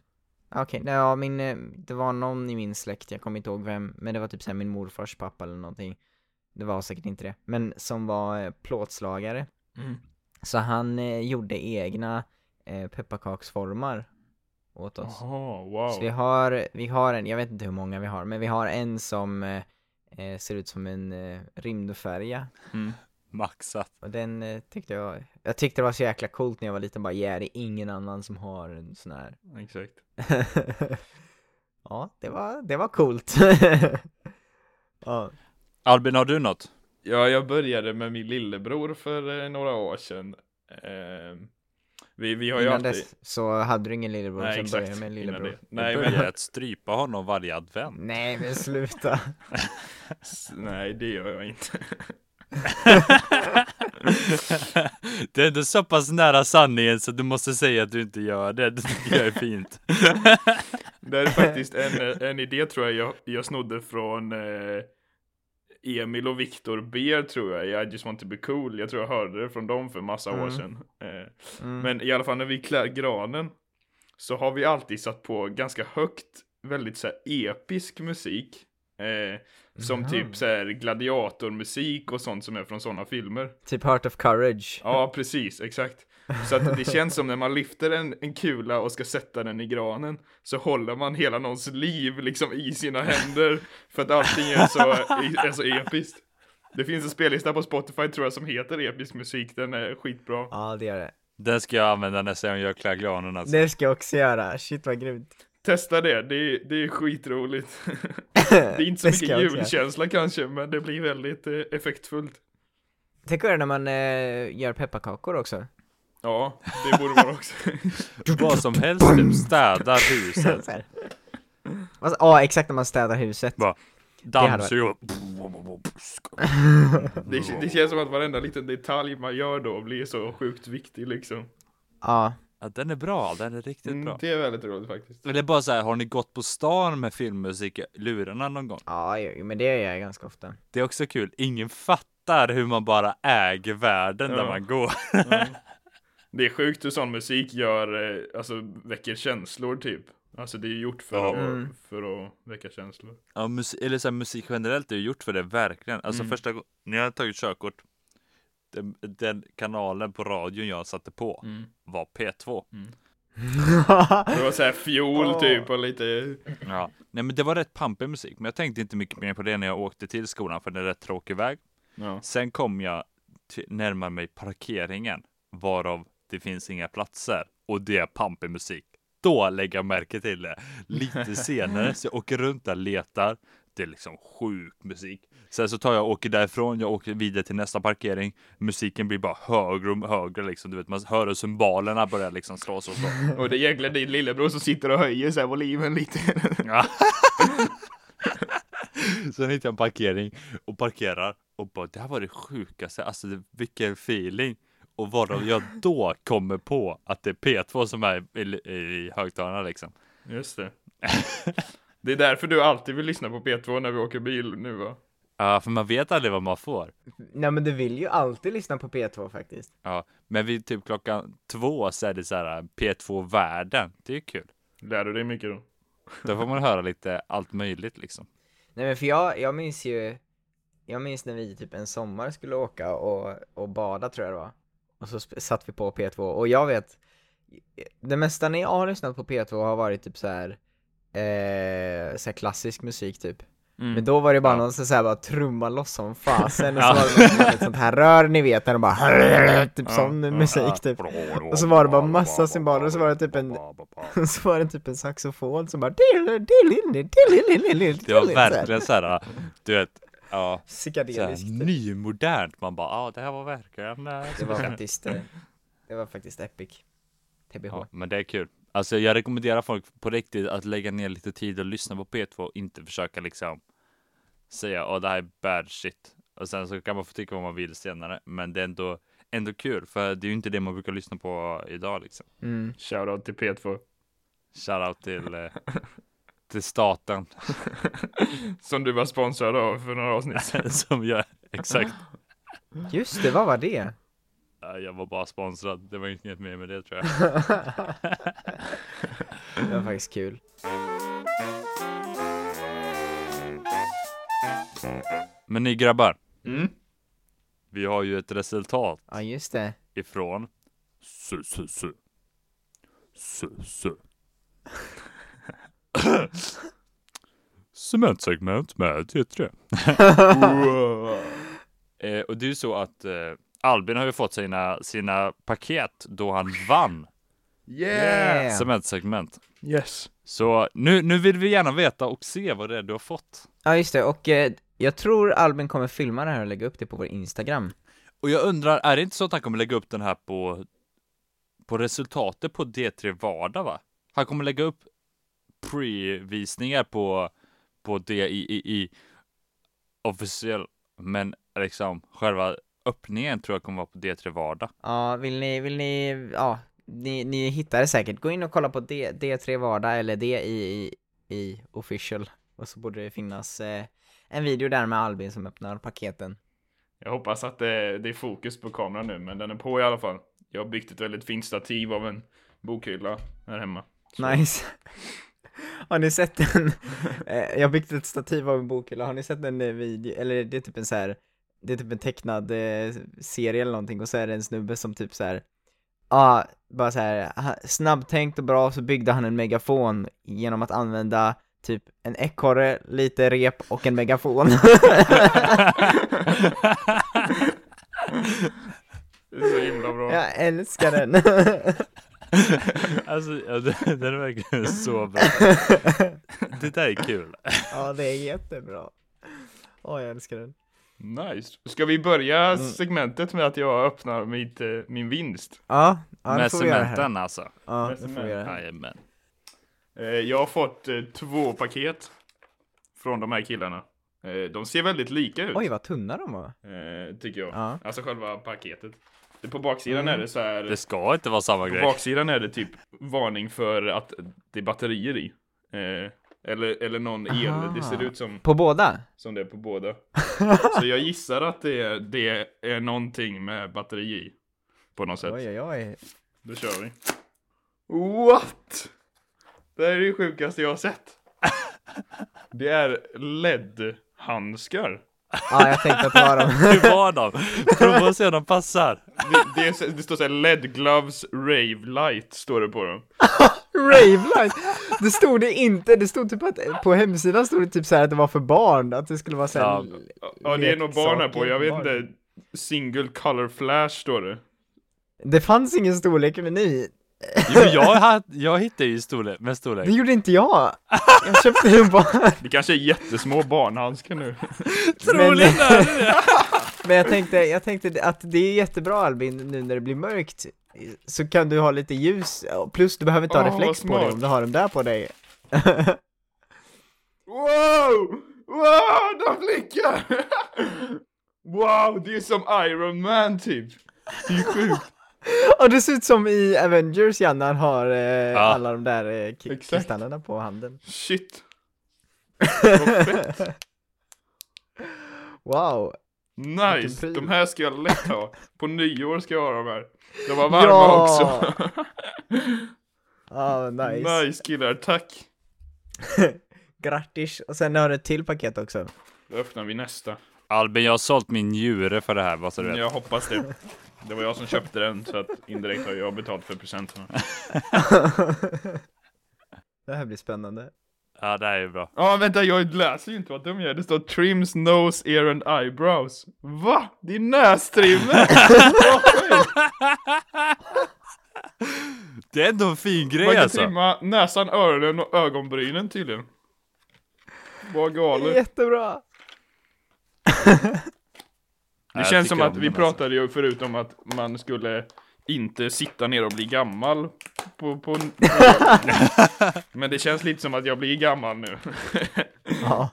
B: ja, Okej, nej, ja min, eh, det var någon i min släkt, jag kommer inte ihåg vem, men det var typ såhär min morfars pappa eller någonting Det var säkert inte det, men som var eh, plåtslagare
C: Mm.
B: Så han eh, gjorde egna eh, pepparkaksformar åt oss
C: Jaha,
B: Så vi
C: wow.
B: har, vi har en, jag vet inte hur många vi har, men vi har en som eh, eh, ser ut som en eh, rymdfärja
C: Mm.
A: Maxat.
B: och den eh, tyckte jag, jag tyckte det var så jäkla coolt när jag var liten bara yeah, det är ingen annan som har en sån här
C: Exakt.
B: ja, det var, det var coolt. (laughs) ja.
A: Albin, har du något?
C: Ja, jag började med min lillebror för eh, några år sedan. Eh, vi, vi har ju
B: Innan
C: alltid...
B: dess så hade du ingen lillebror,
C: Nej,
B: sen
C: exakt.
B: började jag med en
C: Innan
B: lillebror.
C: det. Nej,
A: jag börjar
C: men,
A: att strypa honom varje advent.
B: Nej men sluta.
C: (laughs) nej, det gör jag inte.
A: det är ändå så pass nära sanningen så du måste säga att du inte gör det. Det tycker jag är fint.
C: Det är faktiskt en, eh, en idé tror jag jag, jag snodde från eh, Emil och Viktor B tror jag. I just want to be cool. Jag tror jag hörde det från dem för massa år
B: Mm.
C: sedan. Eh,
B: Mm.
C: Men i alla fall när vi klär granen så har vi alltid satt på ganska högt, väldigt så här episk musik. Eh, som
B: Mhm.
C: typ så här gladiatormusik och sånt som är från sådana filmer.
B: Typ Heart of Courage.
C: Ja, precis, exakt. Så att det känns som när man lyfter en, en kula och ska sätta den i granen så håller man hela någons liv liksom i sina händer för att allting är så, e, är så episkt. Det finns en spellista på Spotify tror jag som heter episk musik, den är skitbra.
B: Ja det gör det.
A: Den ska jag använda nästa gång jag klär granen alltså.
B: Det ska jag också göra, shit vad grymt.
C: Testa det, det är, det är skitroligt. Det är inte så
B: Det ska
C: mycket
B: jag också göra.
C: julkänsla kanske, men det blir väldigt eh, effektfullt.
B: Tänk vad det är när man eh, gör pepparkakor också.
C: Ja, det borde vara
B: (laughs)
C: också.
A: Vad som helst, typ städa huset.
C: (laughs)
B: Så här. Alltså, ja, exakt när man städar huset.
A: Bara,
B: hade
A: Dammsug och...
C: Det, det känns som att varenda liten detalj man gör då blir så sjukt viktig liksom.
B: Ja,
A: Ja, den är bra, den är riktigt
C: Mm,
A: bra.
C: det är väldigt roligt faktiskt.
A: Eller bara så här, har ni gått på stan med filmmusik i lurarna någon gång?
B: ja jo, men det gör jag ganska
C: (laughs)
B: ofta.
A: Det är också kul, ingen fattar hur man bara äger världen där
C: Ja.
A: man går.
C: Det är sjukt hur sån musik gör, eh, alltså väcker känslor typ. Alltså det är gjort för,
A: Ja.
C: att,
B: Mm.
C: för att väcka känslor.
A: Ja, mus- eller så här, musik generellt är ju gjort för det, verkligen. Alltså
C: Mm.
A: första gången, när jag tagit körkort, den, den kanalen på radion jag satte på var P2.
C: Det var såhär fiol
B: Ja.
C: typ och lite,
A: Ja. Nej men det var rätt pampig musik, men jag tänkte inte mycket mer på det när jag åkte till skolan, för det är rätt tråkig väg.
C: ja.
A: Sen kom jag till- närmare mig parkeringen, varav det finns inga platser och det är pampig musik. Då lägger jag märke till det. Lite senare så jag åker runt där, letar. Det är liksom sjuk musik. Sen så tar jag och åker därifrån, jag åker vidare till nästa parkering. Musiken blir bara högre och högre liksom. Du vet, man hör hur cymbalerna börjar liksom slås och så.
C: Och det är egentligen din lillebror som sitter och höjer såhär volymen lite. (laughs)
A: Ja. (laughs) Sen hittar jag en parkering och parkerar och bara det här var det sjukaste, alltså det- vilken feeling. Och varav jag då kommer på att det är P2 som är i, i, i högtalarna liksom.
C: Just det. (laughs) Det är därför du alltid vill lyssna på P2 när vi åker bil nu va?
A: Ja, för man vet aldrig vad man får.
B: Nej men du vill ju alltid lyssna på P2 faktiskt.
A: Ja, men vid typ klockan två så är det så här P2-världen. Det är kul.
C: Lär du dig mycket då?
A: Då får man höra lite allt möjligt liksom.
B: Nej men för jag, jag minns ju, jag minns när vi typ en sommar skulle åka och, och bada tror jag det var. Och så sp- satt vi på P2 och jag vet, det mesta när jag har lyssnat på P2 har varit typ så här. Eh, så här klassisk musik typ. Men då var det bara
A: Ja.
B: någon som såhär bara trumma loss som fasen och så
A: Ja.
B: var det liksom ett sånt här rör ni vet när de bara typ sån
C: ja,
B: musik typ. Och så var det bara massa cymbaler och så var det typ en så var det typ en saxofon som bara
A: Det var verkligen så här, du vet, ja.
B: psykedeliskt.
A: såhär nymodernt. Man bara, ja ah, det här var verkligen eh,
B: Det
A: så
B: var
A: här."
B: faktiskt, eh, det var faktiskt epic. TBH.
A: ja, Men det är kul. Alltså jag rekommenderar folk på riktigt att lägga ner lite tid och lyssna på P2 och inte försöka liksom säga, åh det här är bad shit. Och sen så kan man få tycka vad man vill senare. Men det är ändå, ändå kul, för det är ju inte det man brukar lyssna på idag liksom.
B: Mm.
C: Shoutout till P2.
A: Shoutout till, eh, till staten (laughs)
C: Som du var sponsrad av för några avsnitt sedan.
A: som gör exakt.
B: Just det, vad var det?
A: Ja, Jag var bara sponsrad, det var inget mer med det tror jag.
B: Det var faktiskt kul.
A: Men ni grabbar,
C: Mm.
A: vi har ju ett resultat.
B: Ja just det.
A: ifrån su su su su su Cementsegment med T3. (laughs) eh, och det är ju så att eh, Albin har ju fått sina, sina paket då han vann
C: Yeah!
A: cementsegment.
C: Yes.
A: Så nu, nu vill vi gärna veta och se vad det är du har fått.
B: Ja just det, och eh, jag tror Albin kommer filma det här och lägga upp det på vår Instagram.
A: Och jag undrar, är det inte så att han kommer lägga upp den här på, på resultatet på D3 Vardag va? Han kommer lägga upp pre-visningar på, på DIII officiell, men liksom själva öppningen tror jag kommer vara på D3 Vardag. (laughs)
B: Ja, vill ni, vill ni, ja, ni, ni hittar det säkert. Gå in och kolla på D, D3 Vardag eller D i, i, i official. Och så borde det finnas eh, en video där med Albin som öppnar paketen.
C: Jag hoppas att det, det är fokus på kameran nu, men den är på i alla fall. Jag har byggt ett väldigt fint stativ av en bokhylla här hemma. Så-
B: Nice. (laughs) Har ni sett (laughs) den? Eh, Jag har byggt ett stativ av en bokhylla, har ni sett den eh, video, eller det är typ en så här, det är typ en tecknad eh, serie eller någonting och så är det en snubbe som typ så här. ja, bara så här, ha- snabbtänkt och bra så byggde han en megafon genom att använda typ en ekorre, lite rep och en megafon. (laughs)
C: Det är så himla bra.
B: Jag älskar den.
A: Alltså, ja, den den är verkligen så bra. Det där är kul.
B: ja, det är jättebra. Åh, jag älskar den.
C: Nice. Ska vi
B: Mm.
C: börja segmentet med att jag öppnar mitt, eh, min vinst?
B: Ja, ja det
A: Med
B: får vi göra här.
A: cementen alltså.
B: Ja,
C: Med
B: det får
C: cement.
B: vi göra.
A: Jajamän.
C: Eh, Jag har fått eh, två paket från de här killarna. Eh, De ser väldigt lika ut,
B: Oj, vad tunna de var.
C: eh, tycker jag.
B: Ja.
C: Alltså själva paketet. Det- På baksidan
B: Mm.
C: är det så här.
A: Det ska inte vara samma
C: På
A: grej.
C: baksidan är det typ varning för att det är batterier i. Eh, Eller, eller någon el,
B: Aha.
C: det ser ut som,
B: På båda?
C: som det är
B: (laughs)
C: på båda. Så jag gissar att det är, det är någonting med batteri i. På något sätt.
B: Oj, oj, oj.
C: Då kör vi. What? Det här är det sjukaste jag
B: (laughs)
C: har sett. Det är LED-handskar.
B: (laughs) Ja, jag tänkte att det (laughs) var dem.
A: Hur var de? Prova och se om de passar.
C: Det, det, är, så- det står såhär LED gloves rave light står det på dem.
B: Ravelight! Det stod det inte, det stod typ att, på hemsidan stod det typ så här att det var för barn, att det skulle vara såhär...
A: Ja.
C: Ja det är nog barn här på, jag vet
B: Leksaker.
C: inte. Single color flash står det.
B: Det fanns ingen storlek i menyn.
A: Jo, men jag, har- jag hittade ju storlek, med storlek.
B: Det gjorde inte jag! Jag köpte den bara.
C: Det kanske är jättesmå (laughs) barnhandskar nu.
A: Troligen är det det.
B: (laughs) Men jag tänkte, jag tänkte att det är jättebra Albin, nu när det blir mörkt, så kan du ha lite ljus, plus du behöver inte ha
C: Åh,
B: reflex
C: vad
B: på dig
C: smart.
B: om du har dem där på (laughs) dig.
C: Wow! Wow! De blickar! (laughs) Wow! Det är som Iron Man typ. Det är sjukt.
B: Och det ser ut som i Avengers Jan, när han har eh, alla de där eh, ki-
C: Exakt.
B: kristallerna på handen.
C: (laughs) Shit. Vad (laughs) fett.
B: Wow!
C: Nice!
B: Vilken pryl.
C: De här ska jag lätt ha. På nyår ska jag ha de här. De var varma
B: Ja.
C: också. (laughs)
B: Ah, nice.
C: nice. killar, tack.
B: Grattis! Och sen har du ett till paket också.
C: Då öppnar vi nästa.
A: Albin, jag har sålt min njure för det här, vad så du vet.
C: Jag hoppas det. Det var jag som köpte den så att indirekt har jag betalt för presenterna.
B: Det här blir spännande.
A: Ja, det här är bra.
C: Ja vänta, jag läser ju inte vad de gör. Det står trims, nose, ear and eyebrows. Va? Det är (laughs) nästrimmer!
A: Det är ändå en fin
C: Man
A: grej
C: kan
A: alltså.
C: trimma näsan, öronen och ögonbrynen tydligen. Vad galet.
B: Jättebra!
A: Ja,
C: Det
A: jag
C: känns som
A: tycker
C: att
A: om
C: vi
A: den, alltså.
C: pratade ju förut om att man skulle inte sitta ner och bli gammal på, (laughs) på... Men det känns lite som att jag blir gammal nu.
B: Ja,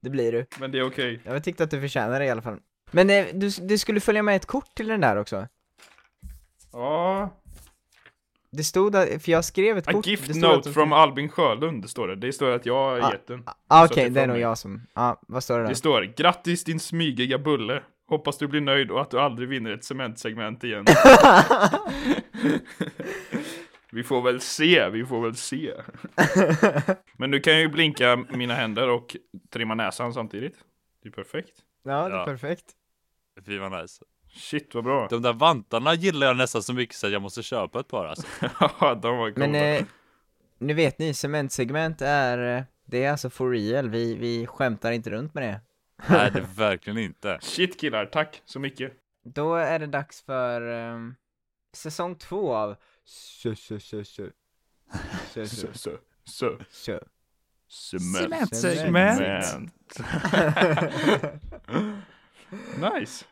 B: det blir du.
C: Men det är okej.
B: Jag tyckte att du förtjänar det i alla fall. Men eh, du, det skulle följa med ett kort till den där också.
C: Ja.
B: Det stod att, för jag skrev ett
C: A
B: kort. det
C: gift
B: stod
C: note
B: att-
C: from Albin Sjölund står det. Det står att jag har
B: Ah.
C: gett den.
B: Ah,
C: Så
B: Okej,
C: att
B: det
C: det
B: är
C: får
B: nog
C: mig.
B: jag som, ja, ah, vad står det då?
C: Det står grattis din smygiga bulle. Hoppas du blir nöjd och att du aldrig vinner ett
B: (laughs)
C: cementsegment igen. vi får väl se, vi får väl se. Men nu kan jag ju blinka mina händer och trimma näsan samtidigt. Det är perfekt.
B: Ja, det är
A: Ja.
B: perfekt.
A: alltså. Fy vad nice.
C: Shit vad bra.
A: De där vantarna gillar jag nästan så mycket så att jag måste köpa ett par alltså.
C: (laughs) Ja, De var coola.
B: Men eh, nu vet ni, cementsegment är, eh, det är alltså for real, vi, vi skämtar inte runt med det.
A: Nej, det är verkligen inte.
C: Shit killar, tack så mycket.
B: Då är det dags för ehm, säsong två av Sö, sö, sö, sö. Sö, sö,
C: Så, så, så.
B: sö.
C: Cement.
B: Cementsegment.
C: nice.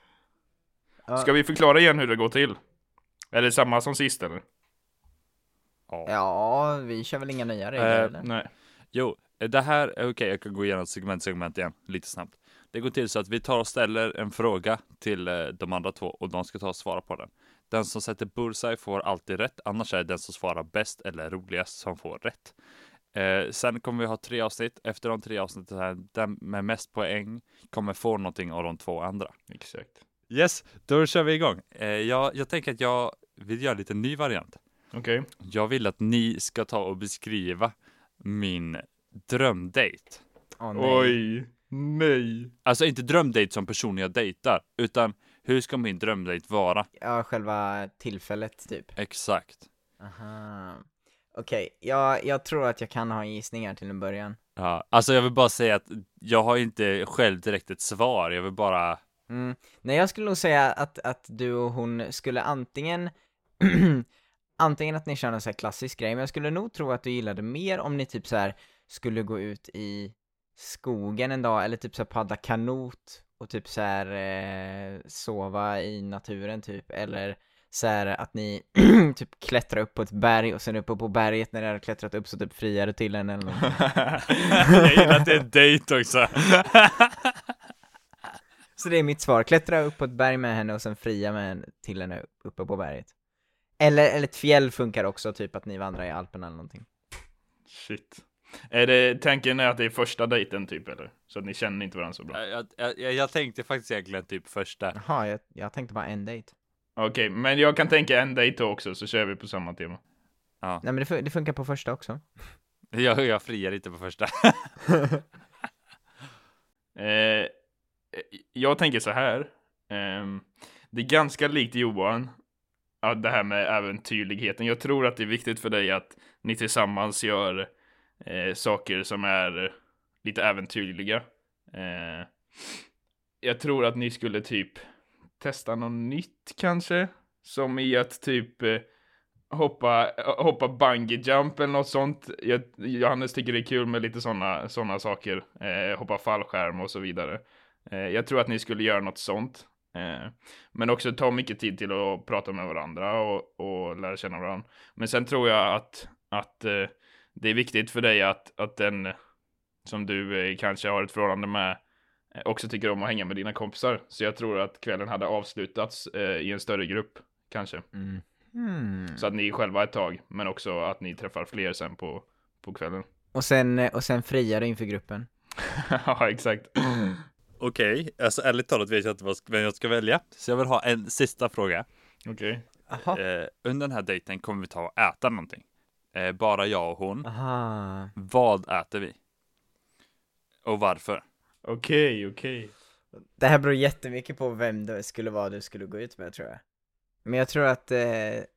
B: Ja.
C: Ska vi förklara igen hur det går till? Är det samma som sist eller?
B: Ja, vi kör väl inga nya regler
A: Eh,
B: eller?
C: Nej.
A: Jo, eh, det här, okej jag kan gå igenom segment, segment igen lite snabbt. Det går till så att vi tar och ställer en fråga till eh, de andra två och de ska ta och svara på den. Den som sätter bullseye får alltid rätt, annars är det den som svarar bäst eller roligast som får rätt. Eh, sen kommer vi ha tre avsnitt. Efter de tre avsnitten, här, den med mest poäng kommer få någonting av de två andra.
C: Exakt.
A: Yes, då kör vi igång. Eh, jag, jag tänker att jag vill göra lite ny variant.
C: Okej.
A: Jag vill att ni ska ta och beskriva min drömdate.
B: Åh, nej.
C: Oj. Nej. (laughs)
A: Alltså inte drömdate som personen jag dejtar, utan hur ska min drömdate vara?
B: Ja, själva tillfället typ.
A: Exakt.
B: Aha. Okej, jag, jag tror att jag kan ha gissningar till en början.
A: Ja, alltså jag vill bara säga att jag har inte själv direkt ett svar, jag vill bara...
B: Mm. Nej, jag skulle nog säga att, att du och hon skulle antingen (clears throat) antingen att ni kör någon så här klassisk grej, men jag skulle nog tro att du gillade mer om ni typ så här skulle gå ut i skogen en dag eller typ så här paddla kanot och typ så här eh, sova i naturen typ eller så här att ni (clears throat) typ klättrar upp på ett berg och sen uppe på berget när ni har klättrat upp så typ friar du till en eller något.
A: (laughs) Jag gillar att det är en dejt också.
B: Så det är mitt svar, klättra upp på ett berg med henne och sen fria med henne till henne uppe på berget. Eller, eller ett fjäll funkar också, typ att ni vandrar i Alperna eller någonting.
C: Shit. Är det, tanken är att det är första dejten typ eller? Så att ni känner inte varandra så bra.
A: (laughs) Jag, jag, jag, jag tänkte faktiskt egentligen typ första.
B: Jaha, jag, jag tänkte bara en dejt.
C: Okej, men jag kan tänka en dejt också så kör vi på samma tema.
B: Nej men det, fun- det funkar på första också.
A: Jag, jag friar inte på första.
C: Eh, jag tänker så här. Ehm, det är ganska likt Johan. Ja, det här med äventyrligheten. Jag tror att det är viktigt för dig att ni tillsammans gör eh, saker som är lite äventyrliga. Eh, jag tror att ni skulle typ testa något nytt kanske. Som i att typ eh, hoppa, hoppa bungee jump eller något sånt. Jag, Johannes tycker det är kul med lite sådana såna saker. Eh, hoppa fallskärm och så vidare. Eh, jag tror att ni skulle göra något sånt. Eh, men också ta mycket tid till att prata med varandra och, och lära känna varandra. Men sen tror jag att, att eh, det är viktigt för dig att, att den som du eh, kanske har ett förhållande med eh, också tycker om att hänga med dina kompisar. Så jag tror att kvällen hade avslutats eh, i en större grupp kanske.
B: Mm. Hmm.
C: Så att ni är själva ett tag, men också att ni träffar fler sen på, på kvällen. (laughs)
B: Och sen, eh, och sen friar du inför gruppen.
C: ja, exakt.
A: Okej, alltså ärligt talat vet jag inte vad- vem jag ska välja. Så jag vill ha en sista fråga.
C: Okej.
B: Aha.
A: Eh, under den här dejten kommer vi ta och äta någonting. Eh, bara jag och hon.
B: Aha.
A: Vad äter vi? Och varför?
C: Okej, okej.
B: Det här beror jättemycket på vem det skulle vara du skulle gå ut med tror jag. Men jag tror att eh,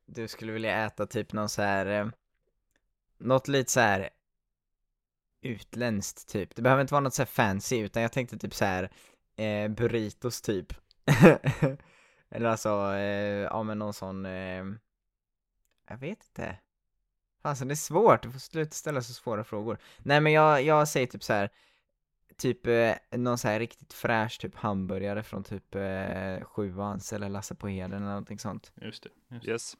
B: du skulle vilja äta typ någon så här, eh, något lite så här utländskt typ. Det behöver inte vara något så här fancy utan jag tänkte typ så här eh, burritos typ. (laughs) Eller alltså, eh, ja men någon sån, eh, jag vet inte. Fasen det är svårt, du får sluta ställa så svåra frågor. Nej men jag, jag säger typ så här typ eh, någon så här riktigt fräsch typ hamburgare från typ eh, Sjuans eller Lasse på Heden eller någonting sånt.
C: Just det. Just det.
A: Yes.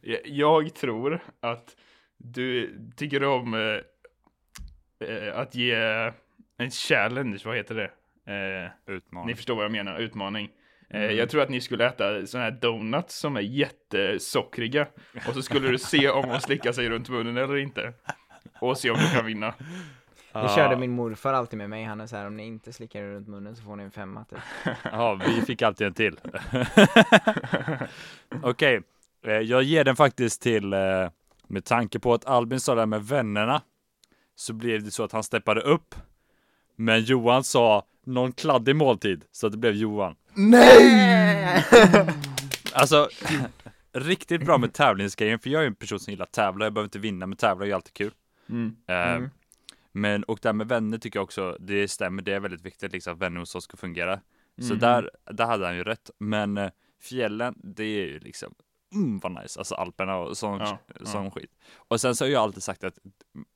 C: Jag- Jag tror att du tycker om eh, eh, att ge en challenge, vad heter det? Eh, ni
A: Utmaning.
C: förstår vad jag menar, utmaning. Eh,
B: Mm.
C: Jag tror att ni skulle äta sådana här donuts som är jättesockriga. Och så skulle du se om hon slickar sig runt munnen eller inte. Och se om du kan vinna.
B: Det körde min morfar alltid med mig, han är så här om ni inte slickar er runt munnen så får ni en femma (laughs) typ.
A: Ja, vi fick alltid en
C: (laughs)
A: till. Okej, eh, jag ger den faktiskt till, eh, med tanke på att Albin sa det här med vännerna, så blev det så att han steppade upp. Men Johan sa någon kladdig måltid, så att det blev Johan.
B: Eh.
A: Nej! Alltså, riktigt bra med tävlingsgrejen, för jag är ju en person som gillar att tävla, jag behöver inte vinna, men tävla är ju alltid kul.
C: Mm.
A: Eh,
B: Mm.
A: Men, och det här med vänner tycker jag också, det stämmer, det är väldigt viktigt liksom, att vänner hos oss ska fungera. Så
C: Mm.
A: där, där hade han ju rätt. Men eh, fjällen, det är ju liksom, mm vad nice, alltså Alperna och sån,
C: Ja,
A: sån skit. Och sen så har jag alltid sagt att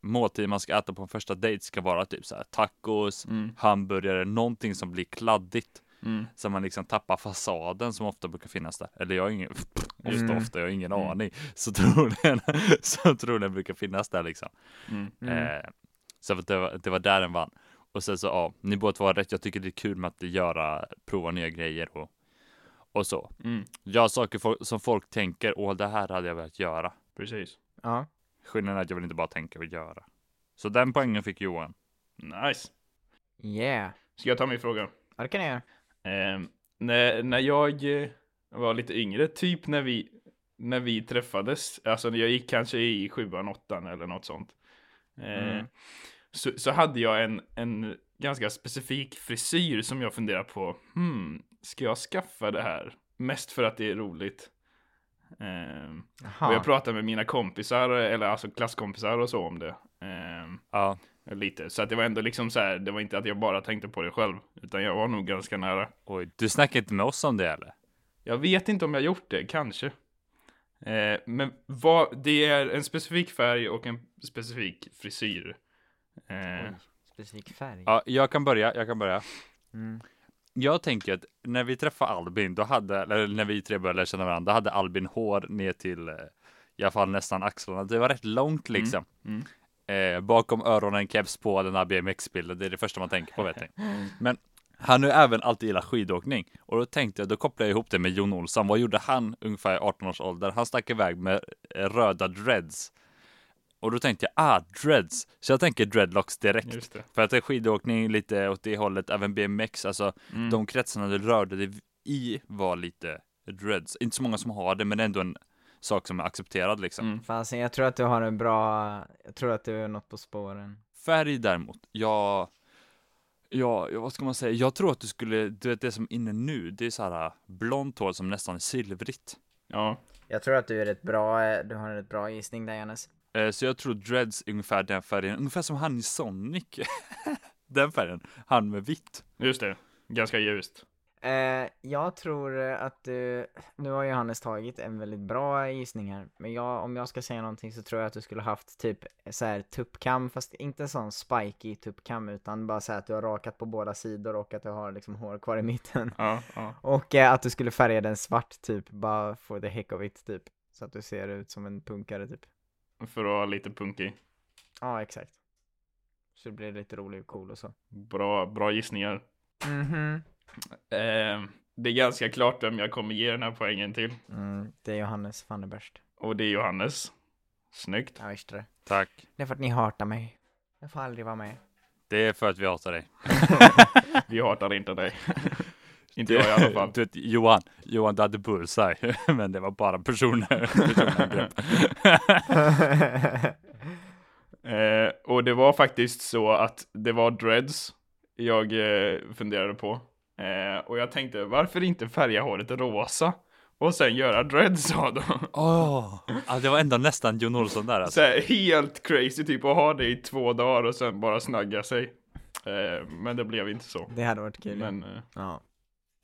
A: måltid man ska äta på en första dejt ska vara typ så här tacos,
C: Mm.
A: hamburgare, någonting som blir kladdigt.
C: Mm.
A: Så man liksom tappar fasaden som ofta brukar finnas där. Eller jag har ingen, (laughs) ofta,
B: Mm.
A: ofta, jag har ingen
C: Mm.
A: aning. Så troligen, (laughs) så troligen brukar finnas där liksom.
C: Mm.
A: Eh, så att det, var, det var där den vann. Och sen så, ja, ni båda var rätt. Jag tycker det är kul med att göra, prova nya grejer och, och så.
C: Mm.
A: Göra saker fo- som folk tänker, åh, det här hade jag velat göra.
C: Precis.
B: Ja.
A: Skillnaden är att jag vill inte bara tänka och göra. Så den poängen fick Johan.
C: Nice.
B: Yeah.
C: Ska jag ta min fråga?
B: Ja det kan jag göra.
C: Eh, när, när jag eh, var lite yngre, typ när vi, när vi träffades, alltså när jag gick kanske i sjuan, åttan eller något sånt. Eh,
B: Mm.
C: så, så hade jag en, en ganska specifik frisyr som jag funderade på, hmm, ska jag skaffa det här? Mest för att det är roligt. Ehm, och
B: Jaha.
C: jag pratade med mina kompisar, eller alltså klasskompisar och så om det. Ehm,
A: Ja,
C: lite, så att det var ändå liksom så här, det var inte att jag bara tänkte på det själv, utan jag var nog ganska nära.
A: oj, du snackar inte med oss om det eller?
C: Jag vet inte om jag gjort det, kanske. Eh, men vad, det är en specifik färg och en specifik frisyr. Eh,
B: Oj, specifik färg.
A: Ja, jag kan börja, jag kan börja.
B: Mm.
A: Jag tänker att när vi träffade Albin, då hade, eller när vi tre började lära känna varandra, då hade Albin hår ner till eh, i alla fall nästan axlarna. Det var rätt långt liksom.
C: Mm,
A: Eh, bakom öronen, keps på, den här BMX-bilden. Det är det första man tänker på vet
C: (laughs)
A: ni.
C: Mm.
A: Men han har ju även alltid gillat skidåkning. Och då tänkte jag, då kopplar jag ihop det med Jon Olsson. Vad gjorde han ungefär i 18 års ålder? Han stack iväg med eh, röda dreads. Och då tänkte jag, ah, dreads. Så jag tänker dreadlocks direkt.
C: just det.
A: För att det är skidåkning lite åt det hållet, även BMX, alltså
C: Mm.
A: de kretsarna du rörde dig i var lite dreads. Inte så många som har det, men ändå en sak som är accepterad liksom.
C: Mm.
B: Fasen, jag tror att du har en bra, jag tror att du är något på spåren.
A: Färg däremot, jag, ja, ja, vad ska man säga, jag tror att du skulle, du vet det som är inne nu, det är så här äh, blont hår som nästan är silvrigt.
C: Ja,
B: Jag tror att du är rätt bra, eh, du har en rätt bra gissning där Johannes.
A: Eh, Så jag tror dreads är ungefär den färgen, ungefär som han i Sonic. (laughs) den färgen, han med vitt.
C: just det. Ganska ljust.
B: Eh, jag tror eh, att du, nu har Johannes tagit en väldigt bra gissning här, men jag, om jag ska säga någonting så tror jag att du skulle haft typ så här tuppkam, fast inte en sån spiky tuppkam utan bara så här att du har rakat på båda sidor och att du har liksom hår kvar i mitten. (laughs)
C: Ja, ja.
B: Och eh, att du skulle färga den svart typ, bara for the heck of it typ. Så att du ser ut som en punkare typ.
C: För att vara lite punkig.
B: Ja, exakt. Så det blir lite rolig och cool och så.
C: Bra, bra gissningar.
B: Mhm.
C: Eh, det är ganska klart vem jag kommer ge den här poängen till.
B: Mm, det är Johannes Fanneberst.
C: Och det är Johannes. Snyggt.
B: Jag visste det.
A: Tack.
B: Det är för att ni hatar mig. Jag får aldrig vara med.
A: Det är för att vi hatar dig.
C: Vi hatar inte dig. (laughs) inte jag i alla fall.
A: (laughs) Du vet, Johan, Johan du hade bullseye, (laughs) men det var bara personer. (laughs) personangrepp.
C: Eh, och det var faktiskt så att det var dreads jag eh, funderade på. Eh, och jag tänkte, varför inte färga håret rosa? Och sen göra dreads av dem.
A: (laughs) Åh, ja, det var ändå nästan Jon Olsson där alltså.
C: Så här, helt crazy typ, och ha det i två dagar och sen bara snagga sig. Eh, men det blev inte så.
B: (laughs) det hade varit kul.
C: Men eh,
B: Ja.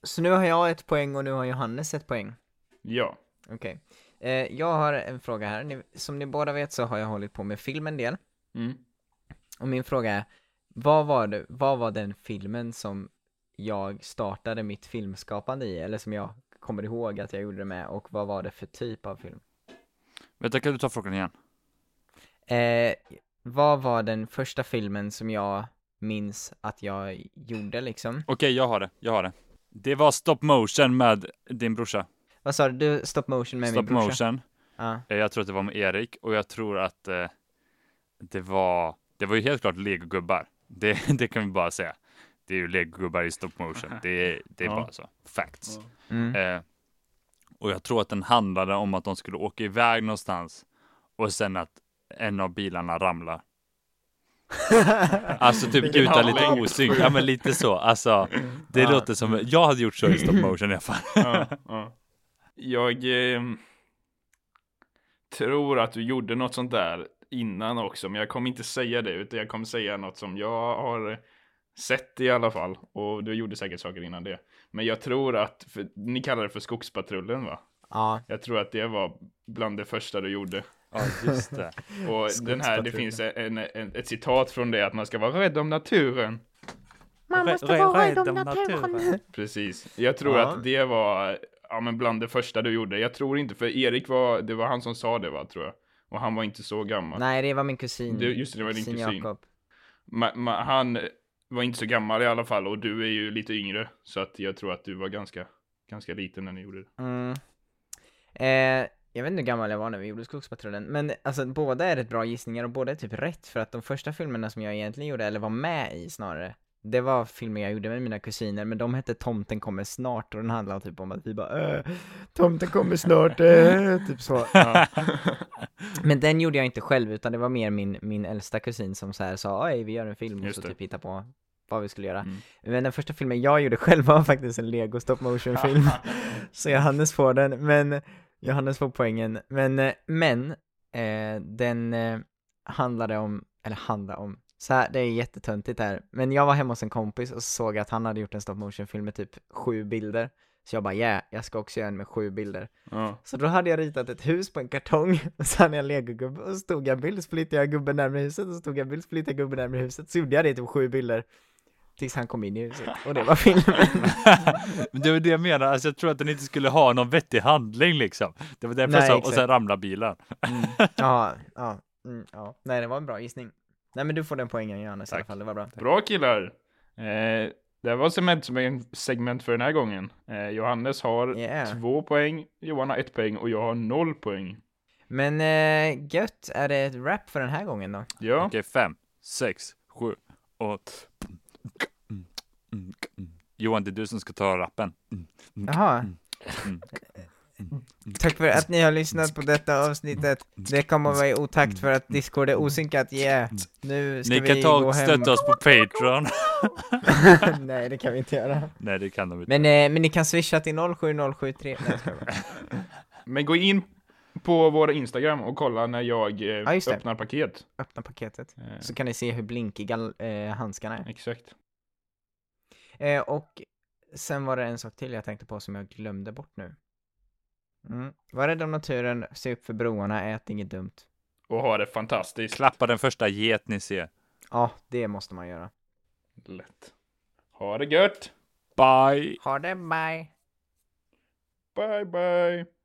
B: Så nu har jag ett poäng och nu har Johannes ett poäng.
C: ja.
B: Okej. Eh, jag har en fråga här. Ni, som ni båda vet så har jag hållit på med film en del.
C: Mm.
B: Och min fråga är, vad var, det, vad var den filmen som jag startade mitt filmskapande i? Eller som jag kommer ihåg att jag gjorde det med och vad var det för typ av film?
A: Vänta, kan du ta frågan igen?
B: Eh, vad var den första filmen som jag minns att jag gjorde liksom?
A: Okej, jag har det, jag har det. Det var stop motion med din brorsa.
B: Vad sa du? du stop motion med
A: stop
B: min brorsa?
A: motion.
B: Ja.
A: Eh, Jag tror att det var med Erik och jag tror att eh, det var, det var ju helt klart legogubbar. Det, (laughs) det kan vi bara säga. Det är ju legogubbar i stop motion. Det, det är
C: Ja.
A: bara så. Facts.
B: Mm.
A: Eh, och jag tror att den handlade om att de skulle åka iväg någonstans och sen att en av bilarna ramlar. Alltså typ
C: Vilken
A: utan lite
C: handling.
A: osynk. Ja men lite så. Alltså det
B: Ja.
A: låter som, jag hade gjort så i stop motion i alla fall.
C: ja, ja. Jag ehm, tror att du gjorde något sånt där innan också, men jag kommer inte säga det, utan jag kommer säga något som jag har sett i alla fall. Och du gjorde säkert saker innan det. Men jag tror att, för, ni kallar det för skogspatrullen va?
B: ja.
C: Jag tror att det var bland det första du gjorde.
A: Ja just det.
C: Och den här, det
B: Skogspatrullen.
C: finns en, en, ett citat från det, att man ska vara rädd om naturen.
A: Man måste vara rädd om naturen.
C: Precis. Jag tror
B: Ja.
C: att det var ja, men bland det första du gjorde. Jag tror inte, för Erik var, det var han som sa det va, tror jag. Och han var inte så gammal.
B: Nej, det var min kusin.
C: Det- just det, det var din kusin.
B: Jakob.
C: Ma, ma, han var inte så gammal i alla fall och du är ju lite yngre. Så att jag tror att du var ganska, ganska liten när ni gjorde det.
B: Mm. Eh, jag vet inte hur gammal jag var när vi gjorde Skogspatrullen, men alltså båda är rätt bra gissningar och båda är typ rätt för att de första filmerna som jag egentligen gjorde, eller var med i snarare, det var filmer jag gjorde med mina kusiner, men de hette Tomten kommer snart och den handlade typ om att vi bara äh, Tomten kommer snart, äh, typ så. Men den gjorde jag inte själv utan det var mer min, min äldsta kusin som så här sa oj vi gör en film och
C: Just
B: så
C: det.
B: typ hitta på vad vi skulle göra.
C: Mm.
B: Men den första filmen jag gjorde själv var faktiskt en lego stop motion
C: (laughs)
B: film. så Johannes får den, men Johannes får poängen. Men, eh, men eh, den eh, handlade om, eller handlade om, Så här, det är jättetöntigt här. Men jag var hemma hos en kompis och såg att han hade gjort en stop motion film med typ sju bilder. Så jag bara yeah, jag ska också göra en med sju bilder.
C: Ja.
B: Så då hade jag ritat ett hus på en kartong (laughs) och så hade jag en legogubbe och så stod jag bild, så flyttade jag gubben närmare huset och så stod jag bild, så flyttade jag gubben närmare huset. Så gjorde jag det i typ sju bilder. Tills han kom in i huset
A: (laughs)
B: och det var filmen.
A: Men det var det jag menar, alltså jag tror att den inte skulle ha någon vettig handling liksom. Det var därför jag
B: Nej,
A: sa, och
B: exakt.
A: sen ramlade bilen.
B: ja, ja, mm, ja. Nej, det var en bra gissning. Nej men du får den poängen Johannes i alla
A: Tack.
B: fall, det var bra.
C: Bra killar! Eh, det här var segment, segment för den här gången. Eh, Johannes har
B: Yeah.
C: två poäng, Johan har ett poäng och jag har noll poäng.
B: Men eh, gött, är det ett rap för den här gången då?
C: Ja,
A: Okej, fem, sex, sju, åtta. Johan, det är du som ska ta rappen.
B: Jaha. Tack för att ni har lyssnat på detta avsnittet. Det kommer att vara i otakt för att Discord är osynkat. Yeah. Nu ska
A: Ni
B: vi
A: kan ta
B: gå
A: och
B: hem.
A: stötta
B: (laughs)
A: oss på Patreon.
B: Nej, det kan vi inte göra.
A: Nej, det kan de inte.
B: Men, eh, men ni kan swisha till 07073. Nej, jag skojar bara.
C: men gå in på vår Instagram och kolla när jag eh,
B: Ja, just det.
C: öppnar paket.
B: Öppna paketet.
C: Eh,
B: Så kan ni se hur blinkiga eh, handskarna är.
C: Exakt.
B: Eh, och sen var det en sak till jag tänkte på som jag glömde bort nu. Mm. Var rädd om naturen, se upp för broarna, ät inget dumt.
C: Och ha det fantastiskt
A: Klappa den första get ni ser.
B: Ja, det måste man göra.
C: lätt. Ha det gött!
A: Bye!
B: Ha det, bye!
C: Bye bye!